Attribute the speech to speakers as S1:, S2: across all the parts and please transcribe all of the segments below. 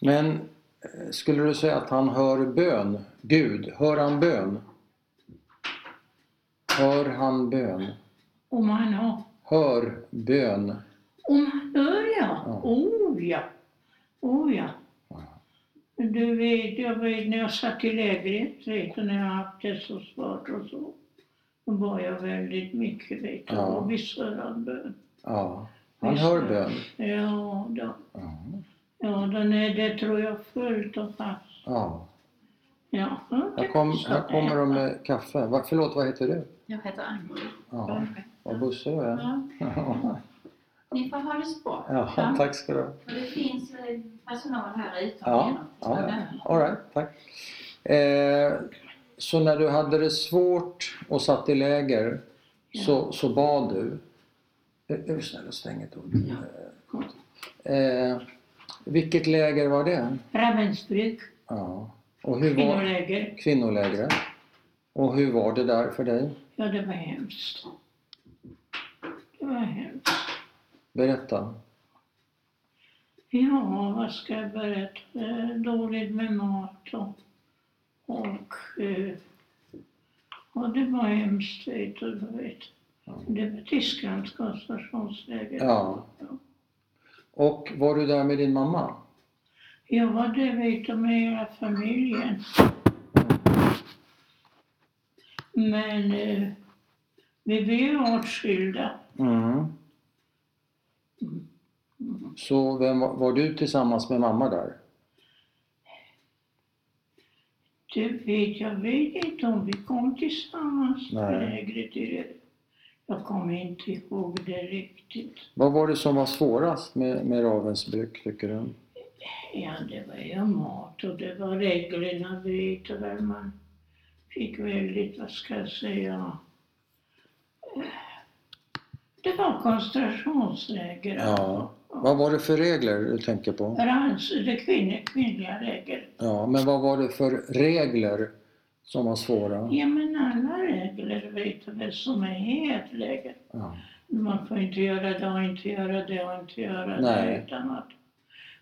S1: Men eh, skulle du säga att han hör bön? Gud, hör han bön? Hör han bön?
S2: Om han har...
S1: Hör bön.
S2: Om han hör ja.
S1: Ja.
S2: Oh ja. Oh ja. Du vet, jag vet när jag satt i lägret, vet du, när jag haft det så svårt och så. Då var jag väldigt mycket, vet du.
S1: Ja.
S2: Och visst hör han bön.
S1: Ja, han
S2: Visst.
S1: hör bön.
S2: Ja, då.
S1: Ja.
S2: Ja, den är, det tror jag fullt och fast.
S1: Ja.
S2: Ja.
S1: Här, kom, här kommer de med kaffe. Va, förlåt, vad heter du?
S3: Jag heter Agneta.
S1: Ja, vad bussig du är.
S3: Ja,
S1: Ja.
S3: ni får ha det så bra.
S1: Ja, tack ska du ha.
S3: Och det finns eh, personal här utan
S1: Ja, ja. All right, tack. Eh, så när du hade det svårt och satt i läger så, så bad du. Eh, Är du snäll och stäng ett ord? Eh, vilket läger var det?
S2: Ravensbrück,
S1: Ja. Och hur var
S2: kvinnoläger.
S1: kvinnolägret? Och hur var det där för dig?
S2: Ja, det var hemskt. Det var hemskt.
S1: Berätta.
S2: Ja, vad ska jag berätta? Eh, Dåligt med mat och... Och, eh, och det var hemskt, vet du. du Vet. Det var Tysklands koncentrationsläger.
S1: Ja. Och var du där med din mamma?
S2: Jag var det, vet du, med hela familjen. Men eh, vi blev åtskilda.
S1: Mm. Så vem var, var du tillsammans med mamma där?
S2: Det vet jag vet inte om vi kom tillsammans
S1: Nej.
S2: med lägret i det. Jag kommer inte ihåg det riktigt.
S1: Vad var det som var svårast med, med Ravensbrück tycker du?
S2: Ja, det var ju mat och det var reglerna, vet du, där man fick väldigt, vad ska jag säga, eh, det var koncentrationsläger.
S1: Ja. Vad var det för regler du tänker på?
S2: Rans, det kvinnor, kvinnliga regler.
S1: Ja, men vad var det för regler som var svåra?
S2: Ja men alla regler vet du väl som är helt regler.
S1: Ja.
S2: Man får inte göra det och inte göra det och inte göra
S1: Nej.
S2: det utan att.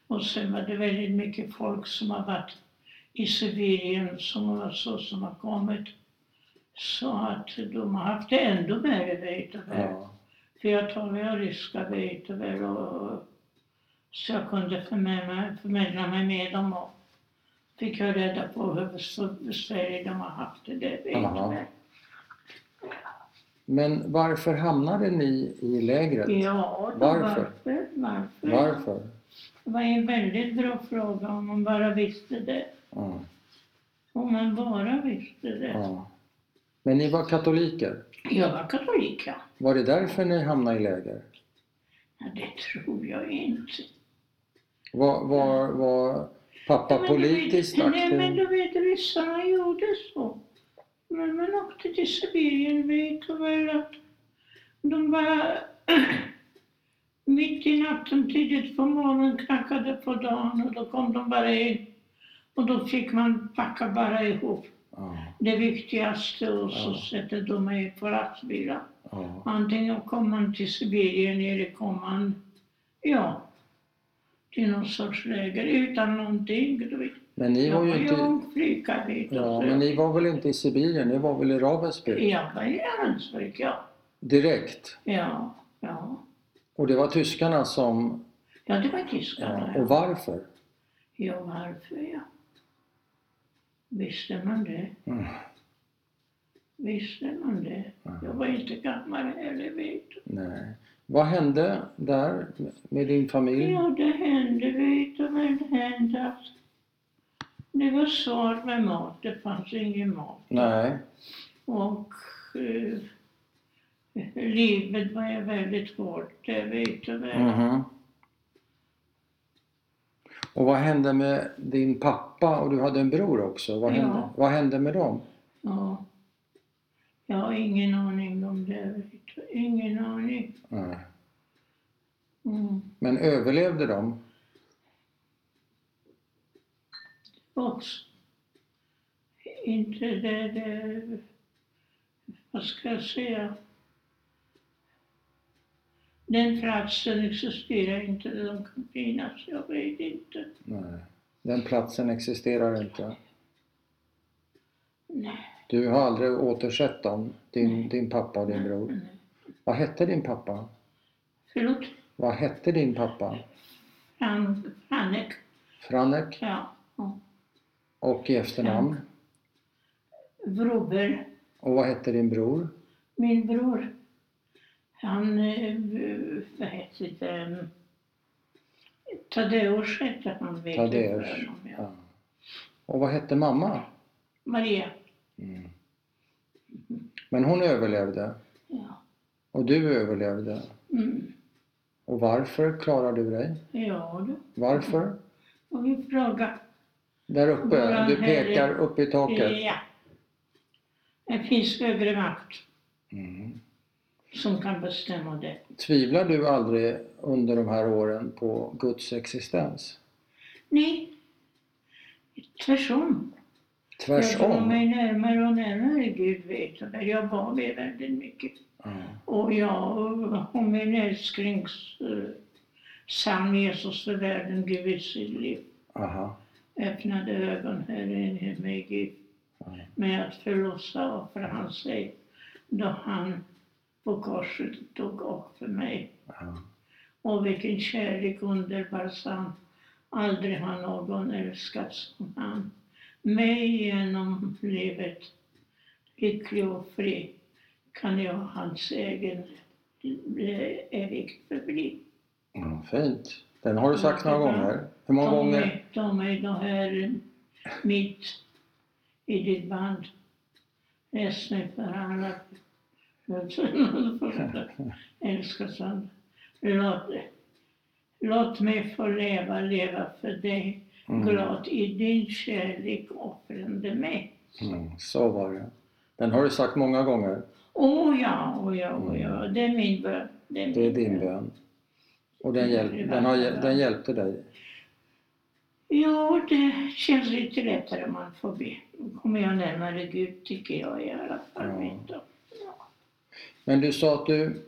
S2: Och sen var det väldigt mycket folk som har varit i Sibirien som har så som har kommit. Så att de har haft det ändå värre vet du väl.
S1: Ja.
S2: För jag talade ju ryska vet du väl och så jag kunde förmedla, förmedla mig med dem och fick jag reda på hur så besvärligt de har haft det där vet
S1: Jaha.
S2: du väl.
S1: Men varför hamnade ni i lägret?
S2: Ja, då,
S1: Varför?
S2: Varför? varför?
S1: Varför?
S2: Det var en väldigt bra fråga om man bara visste det.
S1: Ja.
S2: Om man bara visste det.
S1: Ja. Men ni var katoliker?
S2: Jag var katolik, ja.
S1: Var det därför ni hamnade i läger?
S2: Ja, Det tror jag inte.
S1: Var, var, var pappa
S2: Men du vet-
S1: politiskt
S2: Nej, men
S1: aktiv?
S2: du vet, ryssarna gjorde så. Men man åkte till Sibirien, vet du väl att de bara mitt i natten, tidigt på morgonen, knackade på dagen och då kom de bara in. Och då fick man packa bara ihop
S1: Ja,
S2: det viktigaste och så
S1: Ja.
S2: sätter de mig på lastbilar.
S1: ja,
S2: Antingen kom man till Sibirien eller kom man, ja, till någon sorts läger utan någonting. Du vet.
S1: Men ni var ju
S2: jag var
S1: inte...
S2: ungflicka vet du.
S1: Ja, men ni var väl inte i Sibirien? Ni var väl i Ravensbrück?
S2: Jag var i Ravensbrück, ja.
S1: Direkt?
S2: Ja, ja.
S1: Och det var tyskarna som...
S2: Ja, det var
S1: Ja,
S2: tyskarna.
S1: och
S2: Ja,
S1: varför?
S2: ja varför ja. Visste man det?
S1: Mm.
S2: Visste man det? Jag var inte gammal heller vet du.
S1: Nej. Vad hände där med din familj?
S2: Ja, det hände, vet du vad det hände? att Det var svårt med mat, det fanns ingen mat.
S1: Nej.
S2: Och eh, livet var ju väldigt hårt, det vet du väl.
S1: Mhm. Och vad hände med din pappa? Och du hade en bror också. Vad
S2: Ja.
S1: hände, vad hände med dem?
S2: Ja. Jag har ingen aning om det, vet du. Ingen aning.
S1: Nej.
S2: Mm.
S1: Men överlevde de?
S2: Och inte det, det, vad ska jag säga? Den platsen existerar inte, där de kan finnas, jag vet inte.
S1: Nej. Den platsen existerar inte.
S2: Nej,
S1: Du har aldrig återsett dem, din,
S2: Nej.
S1: din pappa och din bror.
S2: nej.
S1: Vad hette din pappa?
S2: Förlåt?
S1: Vad hette din pappa?
S2: Han, Hannek,
S1: Franek
S2: ja. och
S1: och i efternamn.
S2: Brober,
S1: Och vad hette din bror?
S2: min bror. Han, eh, vad heter det? Tadeusz hette han. vet jag
S1: Tadeusz,
S2: för honom, ja.
S1: Ja. Och vad hette mamma?
S2: Maria. Mm.
S1: Men hon överlevde.
S2: Ja.
S1: Och du överlevde.
S2: Mm.
S1: Och varför klarar du dig?
S2: ja, då.
S1: Varför?
S2: Och vi frågade.
S1: Där uppe,
S2: Våran
S1: du pekar
S2: herre-
S1: upp i taket.
S2: Eh, Ja. Det finns högre makt
S1: Mm.
S2: som kan bestämma det.
S1: Tvivlar du aldrig under de här åren på Guds existens?
S2: Nej, tvärtom. Jag kom
S1: Tvärsom?
S2: mig närmare och närmare Gud vet jag. Jag bad väldigt mycket.
S1: Ja.
S2: Och jag, och min älsklingsson eh, Jesus för världen, Gud vid sitt liv,
S1: Aha.
S2: öppnade ögon här inne med Gud.
S1: Ja.
S2: Med att förlossa och för han sig då han på korset tog upp för mig.
S1: Ja.
S2: Och vilken kärlek underbar sa han. Aldrig har någon älskat som han. Mig genom livet, lycklig och fri, kan jag hans egen eh, evigt förbli.
S1: Ja, Fint. Den har du sagt några
S2: Ja.
S1: gånger. Hur många
S2: Ta
S1: gånger?
S2: mig, ta mig då här eh, mitt i ditt band. Läs mig för alla älskade Låt, låt mig få leva, leva för dig.
S1: Mm.
S2: Glad i din kärlek offrande mig.
S1: Mm. Så var det. Den har du sagt många gånger.
S2: Åh ja, åh ja, åh ja. Det är min bön. är
S1: Mm. Det är
S2: min
S1: din bön. Och den, hjälp, den, har, hjäl- den hjälpte dig.
S2: Jo, det känns lite lättare om man får be. Då kommer jag närmare Gud, tycker jag i alla fall.
S1: Ja.
S2: mitt då.
S1: Men du sa att du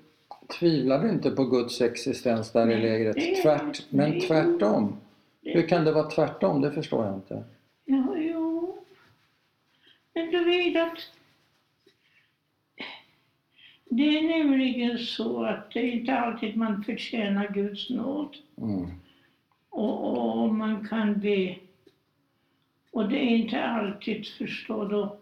S1: tvivlade inte på Guds existens där i
S2: Nej, det gör
S1: lägret.
S2: jag
S1: Tvärt,
S2: inte.
S1: men
S2: Nej.
S1: tvärtom.
S2: Det-
S1: Hur kan det vara tvärtom? Det förstår jag inte.
S2: Ja, jo. Men du vet att det är nämligen så att det är inte alltid man förtjänar Guds nåd.
S1: Mm.
S2: Och, och man kan be. Och det är inte alltid förstå då.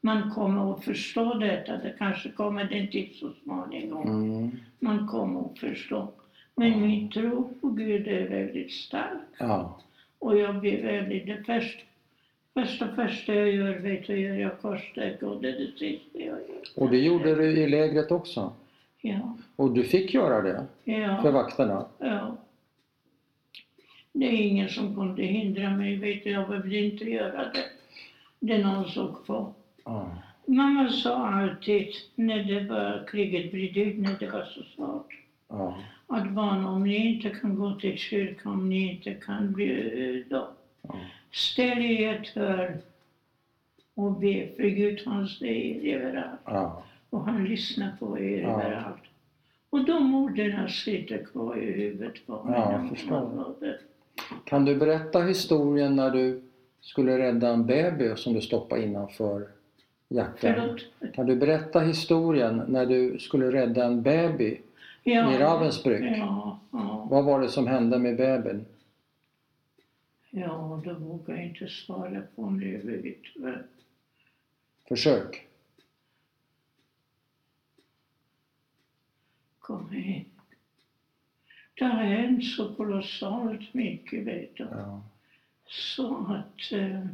S2: Man kommer att förstå detta. Det kanske kommer den tid så småningom.
S1: Mm.
S2: man kommer att förstå. Men
S1: Mm.
S2: min tro på Gud är väldigt stark.
S1: Ja.
S2: Och jag blir väldigt... Det första, första, första jag gör, vet du, gör jag korssteg och det är det sista jag gör.
S1: Och det gjorde du i lägret också.
S2: Ja.
S1: Och du fick göra det för
S2: Ja.
S1: vakterna.
S2: ja. Det är ingen som kunde hindra mig, vet du. Jag behövde inte göra det. Det någon såg på.
S1: Ja.
S2: Mamma sa alltid, när det var kriget bröt ut, när det var så svårt.
S1: Ja.
S2: att barn, om ni inte kan gå till kyrkan, om ni inte kan bli eh, då,
S1: Ja.
S2: ställ er i ett hörn och be, för Gud han ser er överallt
S1: Ja.
S2: och han lyssnar på er
S1: Ja.
S2: överallt. Och de orden sitter kvar i huvudet på mig.
S1: Ja, jag
S2: när
S1: förstår.
S2: man var där.
S1: Kan du berätta historien när du skulle rädda en baby som du stoppade innanför jackan?
S2: Förlåt?
S1: Kan du berätta historien när du skulle rädda en baby i Ravensbrück?
S2: Ja, ja,
S1: Vad var det som hände med babyn?
S2: ja, då vågar jag inte svara på om det överhuvudtaget.
S1: Försök.
S2: Kom hit. Det har hänt så kolossalt mycket, vet du.
S1: Ja.
S2: Så att, eh,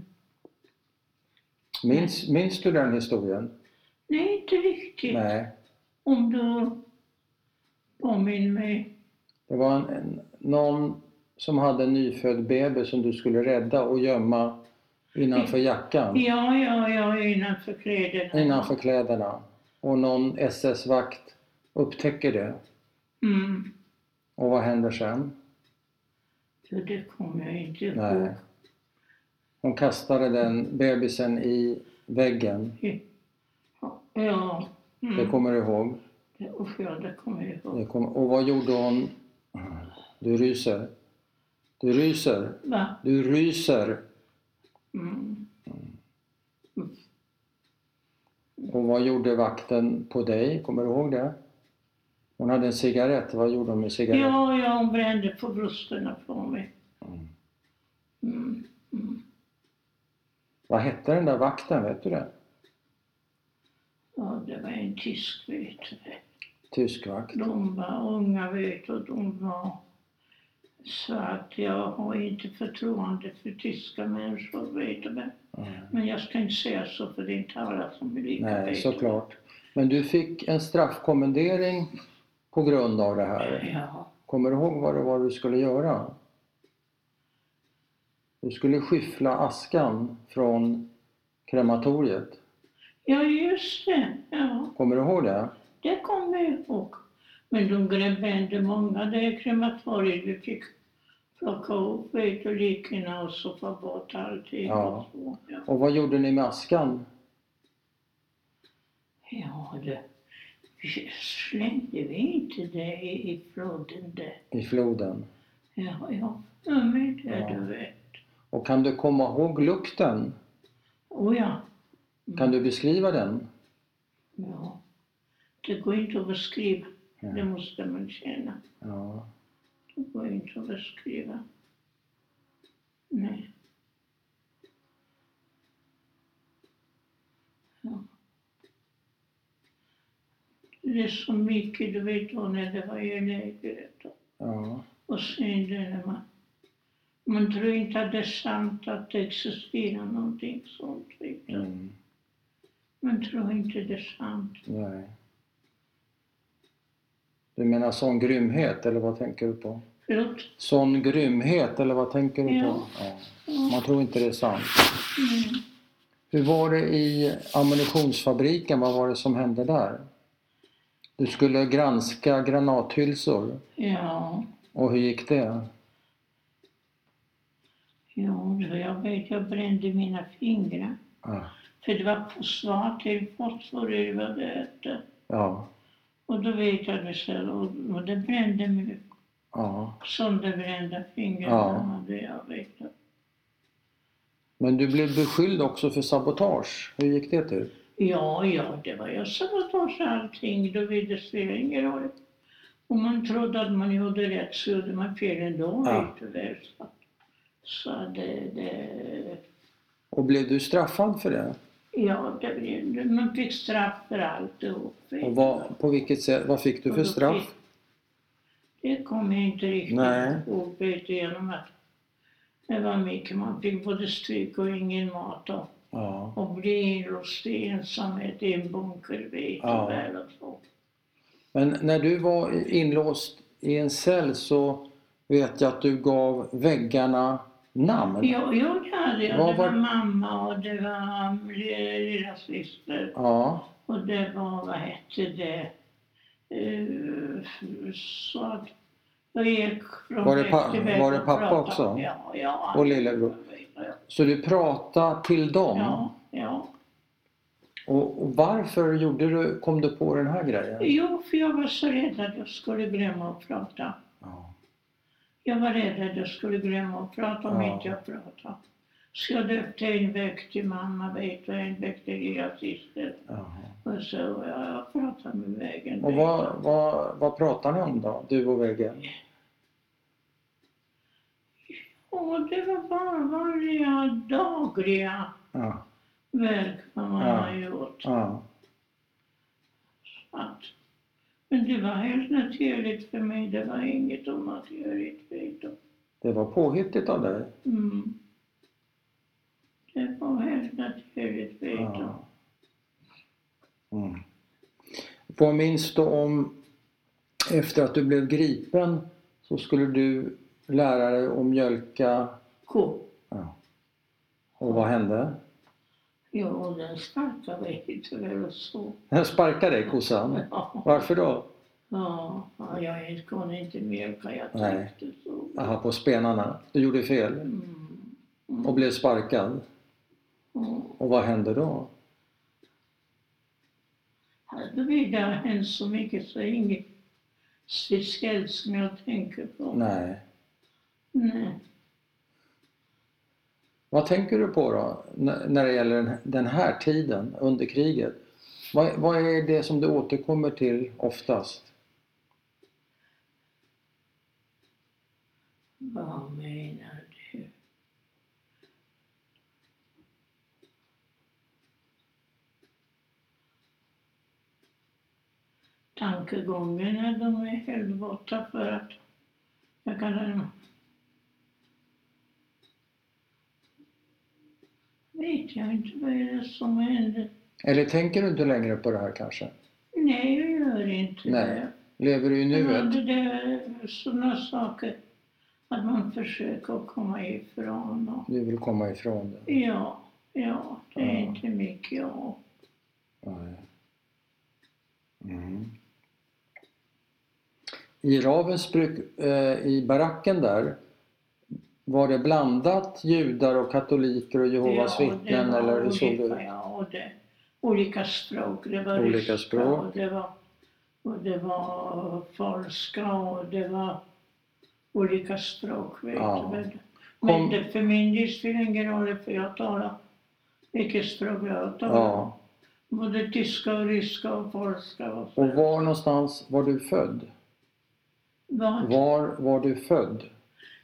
S1: Minns, minns du den historien?
S2: nej inte riktigt.
S1: Nej.
S2: Om du påminner mig.
S1: Det var en, en, någon som hade en nyfödd bebis som du skulle rädda och gömma innanför jackan,
S2: Ja, ja, ja, innanför kläderna.
S1: innanför kläderna. Och någon SS-vakt upptäcker det.
S2: Mm.
S1: Och vad händer sen?
S2: Så det kommer jag inte ihåg.
S1: Nej. Hon kastade den bebisen i väggen.
S2: Ja. Mm.
S1: Det kommer du ihåg.
S2: Usch ja, det kommer jag ihåg.
S1: Det kom, och vad gjorde hon? Du ryser. Du ryser.
S2: Va?
S1: Du ryser.
S2: Mm.
S1: Och vad gjorde vakten på dig? Kommer du ihåg det? Hon hade en cigarett. Vad gjorde hon med cigaretten?
S2: Ja, ja, hon brände på brösterna på mig.
S1: Mm.
S2: Mm. Mm.
S1: Vad hette den där vakten? Vet du det?
S2: Ja, det var en tysk, vet du.
S1: Tysk vakt.
S2: De var unga, vet du, och de var... Så att jag har inte förtroende för tyska människor, vet du. Men,
S1: Mm.
S2: men jag ska inte säga så, för det är inte alla som är lika,
S1: Nej,
S2: vet du.
S1: såklart. Men du fick en straffkommendering på grund av det här.
S2: Ja,
S1: Kommer du ihåg vad det var du skulle göra? Du skulle skyffla askan från krematoriet.
S2: ja just det. Ja,
S1: Kommer du ihåg det?
S2: det kommer jag ihåg. Men de brände många där krematoriet. Vi fick plocka upp, vet du, likena och så få bort allting.
S1: Ja.
S2: Och så, ja.
S1: Och vad gjorde ni med askan?
S2: ja, det vi slängde vi inte det i, i floden där.
S1: I floden.
S2: Ja, ja. Ja, men det
S1: Ja.
S2: du vet.
S1: Och kan du komma ihåg lukten?
S2: Oh, ja.
S1: Kan du beskriva den?
S2: ja. Det går inte att beskriva.
S1: Ja.
S2: Det måste man känna.
S1: Ja.
S2: Det går inte att beskriva. Nej. Ja. Det är så mycket, du vet, då när det var ju lägret. då.
S1: ja.
S2: Och sen det när man... Man tror inte att det är sant att det existerar någonting sånt, vet du.
S1: Mm.
S2: Man tror inte det är sant.
S1: Nej. Du menar sån grymhet, eller vad tänker du på?
S2: Förlåt?
S1: Sån grymhet, eller vad tänker du på?
S2: Ja.
S1: Ja.
S2: Ja.
S1: Man tror inte det är sant.
S2: Mm.
S1: Hur var det i ammunitionsfabriken? Vad var det som hände där? Du skulle granska granathylsor.
S2: Ja,
S1: Och hur gick det?
S2: ja, så jag vet, jag brände mina fingrar.
S1: Ja.
S2: För det var fosfat till fosfor i vad det hette.
S1: Ja.
S2: Och då vet jag det själv. Och, och det brände mig.
S1: ja.
S2: Sönderbrända fingrar
S1: Ja.
S2: hade jag, vet du.
S1: Men du blev beskylld också för sabotage. Hur gick det till?
S2: Ja, ja, det var ju sabotage allting. Då vet det spelar ingen roll. Om man trodde att man gjorde rätt så gjorde man fel ändå,
S1: Ja.
S2: vet du väl. Så- Så det, det
S1: Och blev du straffad för det?
S2: Ja, det blev, man fick straff för alltihop.
S1: Och vad, på vilket sätt, vad fick du för
S2: Och då
S1: straff?
S2: fick- Det kommer jag inte riktigt
S1: Nej.
S2: ihåg vet du, genom att det var mycket. Man fick både stryk och ingen mat och,
S1: Ja.
S2: och bli inlåst i ensamhet i en bunker vet du
S1: Ja.
S2: väl. Och så.
S1: Men när du var i- inlåst i en cell så vet jag att du gav väggarna namn.
S2: Jo, jo, det hade jag.
S1: Vad
S2: Det var
S1: var-
S2: mamma och det var um, li- lilla syster
S1: Ja.
S2: och det var, vad hette det, Eh, så att jag gick från
S1: Var det
S2: vägg
S1: pa-
S2: till vägg
S1: var det
S2: och
S1: pappa
S2: pratade.
S1: också?
S2: Ja, ja.
S1: Och lillebror? Så du pratade till dem.
S2: Ja, ja.
S1: Och, och varför gjorde du, kom du på den här grejen?
S2: Jo, för jag var så rädd att jag skulle glömma att prata.
S1: Ja.
S2: Jag var rädd att jag skulle glömma att prata om
S1: Ja.
S2: inte jag pratade. Så jag döpte en väg till mamma, vet du, och en väg till lilla syster.
S1: ja.
S2: Och så ja, jag pratade med vägen.
S1: Och vad, vad, vad pratade ni om då, du och väggen?
S2: Och det var bara vanliga dagliga
S1: Ja.
S2: verk vad man
S1: Ja.
S2: har gjort.
S1: Ja.
S2: Att, men det var helt naturligt för mig. Det var inget onaturligt, vet du.
S1: Det var påhittigt av dig.
S2: Mm. Det var helt naturligt, vet du.
S1: Ja. Mm. Vad minns du om efter att du blev gripen så skulle du lära dig att mjölka
S2: Ko.
S1: och vad hände?
S2: Jo, och den sparkade mig tyvärr och så.
S1: Jag sparkade dig kossan.
S2: Ja,
S1: Varför då?
S2: ja, jag kunde inte mjölka. Jag
S1: Nej.
S2: tyckte så.
S1: Aha, på spenarna. Du gjorde fel
S2: Mm.
S1: och blev sparkad.
S2: Mm.
S1: Och vad hände då?
S2: Hade vi där hänt så mycket så är inget speciellt som jag tänker på.
S1: Nej.
S2: Nej.
S1: Vad tänker du på då n- när det gäller den- den här tiden under kriget? Vad, vad är det som du återkommer till oftast?
S2: Vad menar du? Tankegångarna de är helt borta för att jag kan... Vet jag inte vad är det som händer.
S1: Eller tänker du inte längre på det här kanske?
S2: Nej, jag gör inte
S1: Nej.
S2: det.
S1: Lever du i
S2: Men
S1: nuet?
S2: det är sådana saker att man försöker komma ifrån. Och,
S1: Du vill komma ifrån det?
S2: ja, ja, det är
S1: Ja.
S2: inte mycket jag.
S1: Nej. Mm. I Ravensbrück, eh, i baracken där, var det blandat judar och katoliker och Jehovas
S2: ja,
S1: vittnen
S2: var
S1: eller hur såg
S2: olika,
S1: det
S2: Ja, och det, olika språk. Det var
S1: Olika
S2: ryska
S1: språk.
S2: och det var, och det var polska och det var olika språk. Vet
S1: Ja.
S2: du. väl.
S1: Kom-
S2: Men det, för min del spelar det ingen roll för jag talar vilket språk jag talar.
S1: Ja.
S2: Både tyska och ryska och polska. Och
S1: Och var någonstans var du född?
S2: Vart?
S1: Var var du född?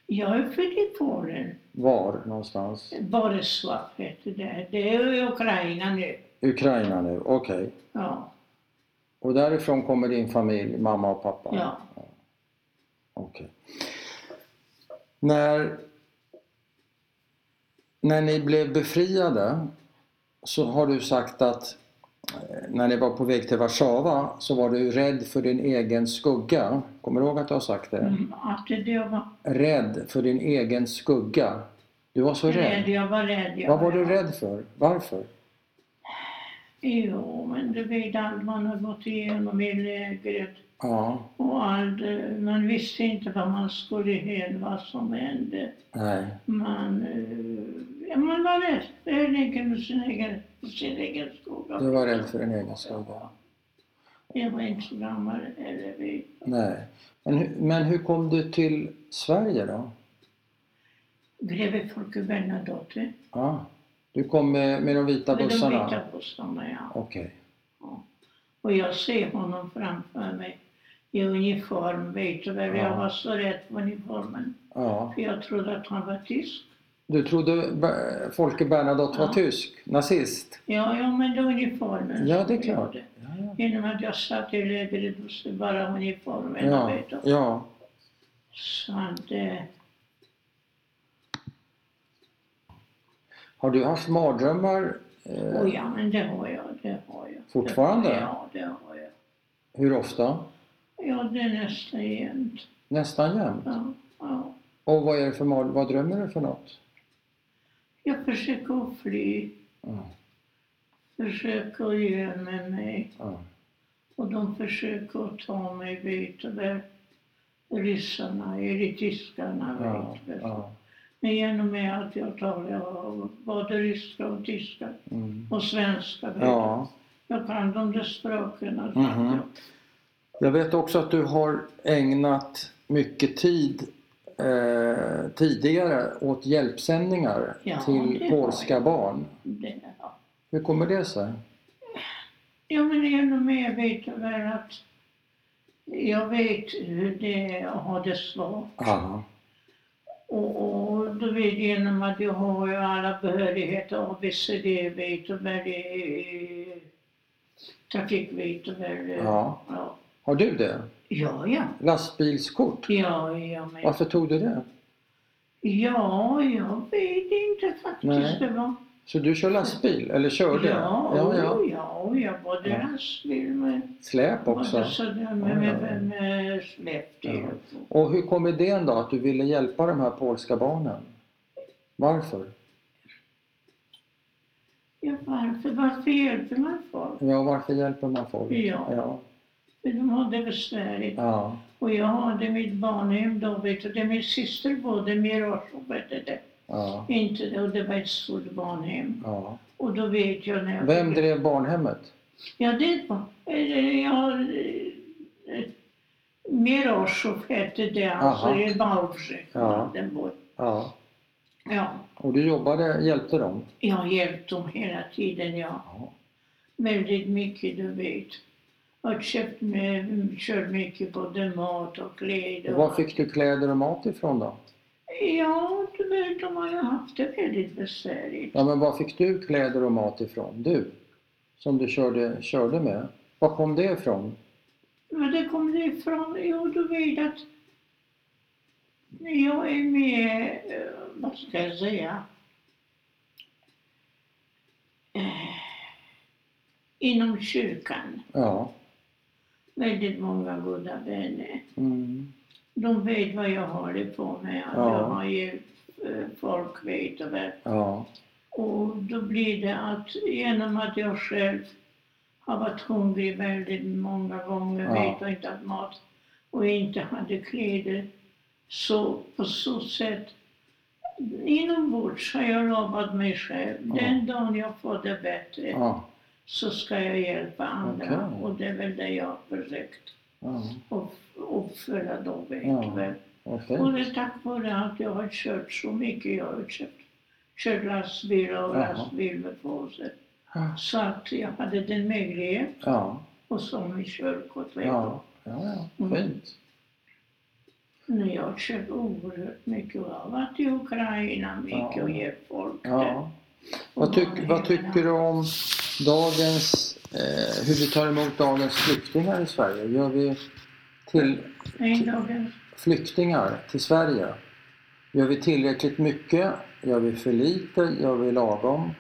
S2: Jag är född i Polen.
S1: Var någonstans?
S2: Boleslav heter det. Det är i Ukraina nu.
S1: Ukraina nu, okej.
S2: Ja,
S1: Och därifrån kommer din familj, mamma och pappa?
S2: ja.
S1: Okej. När, när ni blev befriade så har du sagt att eh, när ni var på väg till Warszawa så var du rädd för din egen skugga. Kommer du ihåg att du har sagt det?
S2: Mm, Att det var
S1: Rädd för din egen skugga. Du var så
S2: rädd.
S1: rädd.
S2: Jag var rädd. Jag
S1: Vad var du rädd för? Varför?
S2: Jo, men du vet allt man har gått igenom i lägret.
S1: Ja,
S2: Och allt. eh, Man visste inte vad man skulle hända, vad som hände.
S1: nej.
S2: Man, eh, ja, man var rädd. Helt enkelt för sin egen, för sin egen skola.
S1: Du var rädd för din egen skugga.
S2: Jag var inte så gammal eller vet.
S1: Nej. Men, hur- men hur kom du till Sverige då?
S2: Greve Folke Bernadotte.
S1: Ja. Du kom med, med de vita
S2: Med de
S1: bussarna?
S2: vita bussarna, ja.
S1: Okej.
S2: Och jag ser honom framför mig i uniform, vet du väl.
S1: Ja.
S2: Jag var så rädd för uniformen.
S1: Ja.
S2: För jag trodde att han var tysk.
S1: Du trodde Ber- Folke Bernadotte var
S2: Ja.
S1: tysk? Nazist?
S2: Ja, ja, men det var uniformen.
S1: Ja,
S2: som
S1: det är klart.
S2: gjorde.
S1: Ja,
S2: Genom att jag satt i lägret och såg bara uniformen,
S1: ja.
S2: vet du.
S1: ja.
S2: Så att, eh,
S1: Har du haft mardrömmar? Eh,
S2: oh ja, men det har jag, det har jag.
S1: Fortfarande?
S2: Ja, det har jag.
S1: Hur ofta?
S2: Ja, det är nästan jämt.
S1: Nästan jämt?
S2: Ja, ja.
S1: Och vad, är det för mard- vad drömmer du för något?
S2: Jag försöker att fly,
S1: Ja.
S2: försöker att gömma mig.
S1: Ja.
S2: Och de försöker att ta mig vet över ryssarna, eller tyskarna
S1: Ja.
S2: vet du.
S1: Ja.
S2: Men genom med att jag talar både ryska och tyska
S1: Mm.
S2: och svenska vet du.
S1: ja.
S2: Jag kan de där språken. alltså.
S1: Mhm. Jag vet också att du har ägnat mycket tid eh, tidigare åt hjälpsändningar
S2: Ja, det
S1: till
S2: har
S1: polska
S2: jag.
S1: barn.
S2: Det, ja.
S1: Hur kommer det sig?
S2: ja men genom med vet du väl att jag vet hur det är att ha det svårt.
S1: Ja.
S2: Och, och du vet genom att jag har ju alla behörigheter, ABCD, vet du väl, eh, trafik, vet du väl. eh,
S1: Ja.
S2: Ja,
S1: Har du det?
S2: ja. ja.
S1: Lastbilskort?
S2: Ja, ja, men,
S1: Varför tog du det?
S2: ja, jag vet inte faktiskt.
S1: Nej.
S2: Det var,
S1: Så du kör lastbil, eller körde?
S2: ja,
S1: ja, ja.
S2: ja, ja, jag både
S1: Ja.
S2: lastbil med,
S1: Släp också.
S2: både sådär
S1: Ja,
S2: med, med,
S1: ja, ja.
S2: med, med släp till.
S1: Och hur kom idén då att du ville hjälpa de här polska barnen? Varför?
S2: Ja, varför, varför hjälper man folk?
S1: Ja, varför hjälper man folk?
S2: Ja.
S1: Ja.
S2: För de har det besvärligt.
S1: ja.
S2: Och jag hade mitt barnhem då, vet du. Det är min syster bodde med Rorschach, vet du det.
S1: ja.
S2: Inte det, och det var ett stort barnhem.
S1: ja.
S2: Och då vet jag när jag...
S1: Vem drev barnhemmet?
S2: eh, Ja, det var... eh, Ja, eh, Mirosjov hette det, alltså
S1: Aha.
S2: i Baltic,
S1: Ja.
S2: Brandenburg.
S1: Ja.
S2: Ja,
S1: Och du jobbade, hjälpte dem?
S2: jag hjälpte dem hela tiden, ja.
S1: Ja.
S2: Väldigt mycket, du vet. Och köpt med, kört mycket både mat och kläder.
S1: Och var fick du kläder och mat ifrån då?
S2: Ja, du vet, de har ju haft det väldigt besvärligt.
S1: Ja, men var fick du kläder och mat ifrån? Du? Som du körde, körde med? Var kom det ifrån?
S2: Men det kom det ifrån, jo du vet att jag är med, eh, vad ska jag säga, eh, inom kyrkan.
S1: Ja.
S2: Väldigt många goda vänner.
S1: Mm.
S2: De vet vad jag håller på med. att
S1: Ja.
S2: Jag har hjälpt eh, folk, vet och väl.
S1: Ja.
S2: Och då blir det att genom att jag själv har varit hungrig väldigt många gånger,
S1: Ja.
S2: vet och inte haft mat och inte hade kläder. Så på så sätt, inombords har jag lovat mig själv,
S1: Ja.
S2: den dagen jag får det bättre
S1: Ja.
S2: så ska jag hjälpa andra.
S1: Okej.
S2: Och det är väl det jag har försökt
S1: ja.
S2: att uppfylla då, vet
S1: Ja.
S2: du väl.
S1: Okej.
S2: Och det är tack vare att jag har kört så mycket. Jag har kört, kört lastbil och
S1: Jaha.
S2: lastbil med påse.
S1: Ja.
S2: Så att jag hade den möjligheten
S1: Ja.
S2: och så mitt körkort. vet du.
S1: Ja. ja. Fint.
S2: Men jag har kört oerhört mycket och jag har varit i Ukraina mycket
S1: Ja.
S2: och hjälpt folk där.
S1: Ja. Vad, tyck, vad tycker du om dagens, eh, hur vi tar emot dagens flyktingar i Sverige? Gör vi till,
S2: Nej, dagens-
S1: flyktingar till Sverige? Gör vi tillräckligt mycket? Gör vi för lite? Gör vi lagom?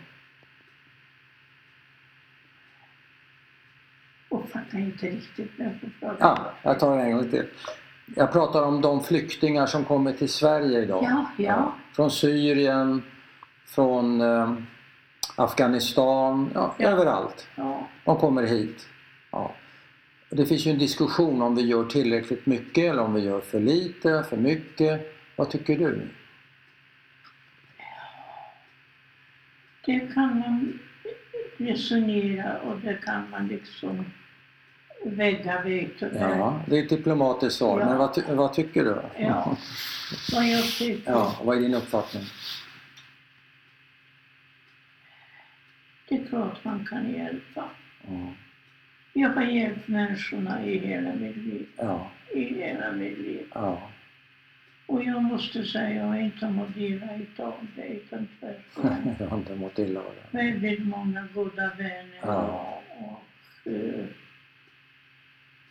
S2: Och fattar inte riktigt den här frågan.
S1: Ja, jag tar den en gång till. Jag pratar om de flyktingar som kommer till Sverige idag.
S2: Ja, ja.
S1: Från Syrien, från eh, Afghanistan, ja,
S2: Ja.
S1: överallt.
S2: ja.
S1: De kommer hit. Ja. Det finns ju en diskussion om vi gör tillräckligt mycket eller om vi gör för lite, för mycket. Vad tycker du?
S2: Det kan man resonera och det kan man liksom väga vet du väl.
S1: Ja, det är ett diplomatiskt svar,
S2: Ja.
S1: men vad, ty- vad tycker du?
S2: Ja. Vad jag tycker.
S1: ja. Vad är din uppfattning?
S2: Det är klart man kan hjälpa.
S1: Ja.
S2: Jag har hjälpt människorna i hela mitt liv.
S1: Ja.
S2: I hela mitt liv.
S1: ja.
S2: Och jag måste säga, jag har inte mått illa utav det, utan tvärtom.
S1: Jag har inte mått illa av det.
S2: Väldigt många goda vänner
S1: Ja.
S2: och, eh,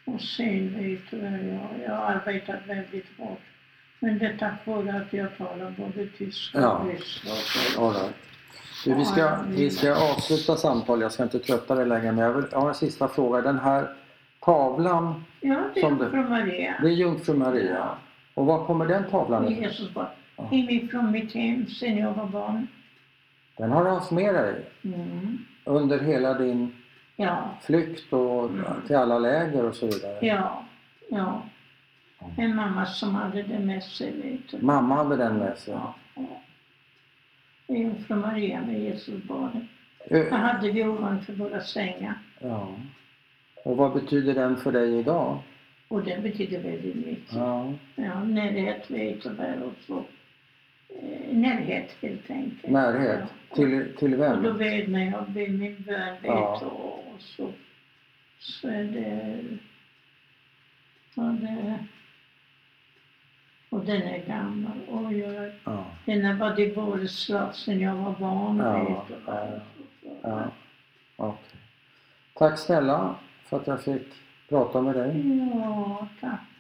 S2: och sen vet du väl, jag, jag har arbetat väldigt hårt. Men det är tack vare att jag talar både tyska och
S1: Ja.
S2: ryska.
S1: All right. du, vi, ska, vi ska avsluta samtalet, jag ska inte trötta dig längre men jag, vill, jag har en sista fråga. Den här tavlan,
S2: Ja, det
S1: Som du.
S2: är från Maria.
S1: det är Jungfru Maria. Och var kommer den tavlan ifrån?
S2: Jesus barn.
S1: Ja.
S2: Hemifrån mitt hem sen jag var barn.
S1: Den har du haft med dig
S2: Mm.
S1: under hela din
S2: Ja,
S1: flykt och
S2: Mm.
S1: till alla läger och så vidare.
S2: ja, ja.
S1: Ja.
S2: En mamma som hade det med sig, vet du.
S1: Mamma hade den med sig.
S2: Ja, ja. Jungfru Maria med Jesus barn. Det
S1: Ö-
S2: hade vi ovanför våra sängar.
S1: Ja. Och vad betyder den för dig idag?
S2: Och det betyder väldigt mycket. Ja.
S1: Ja.
S2: närhet, vet du väl. Och så. Eh, närhet, helt enkelt.
S1: Närhet.
S2: Ja.
S1: Till, till
S2: Och då
S1: vem?
S2: vet man, jag ber min bön, vet
S1: Ja.
S2: du, och så, så är det, ja, det... Och den är gammal. Och jag,
S1: Ja.
S2: den har varit i Boleslav sedan jag var barn.
S1: Ja,
S2: vet du,
S1: ja,
S2: och så.
S1: Ja. Okej. Tack snälla för att jag fick prata med dig.
S2: ja, tack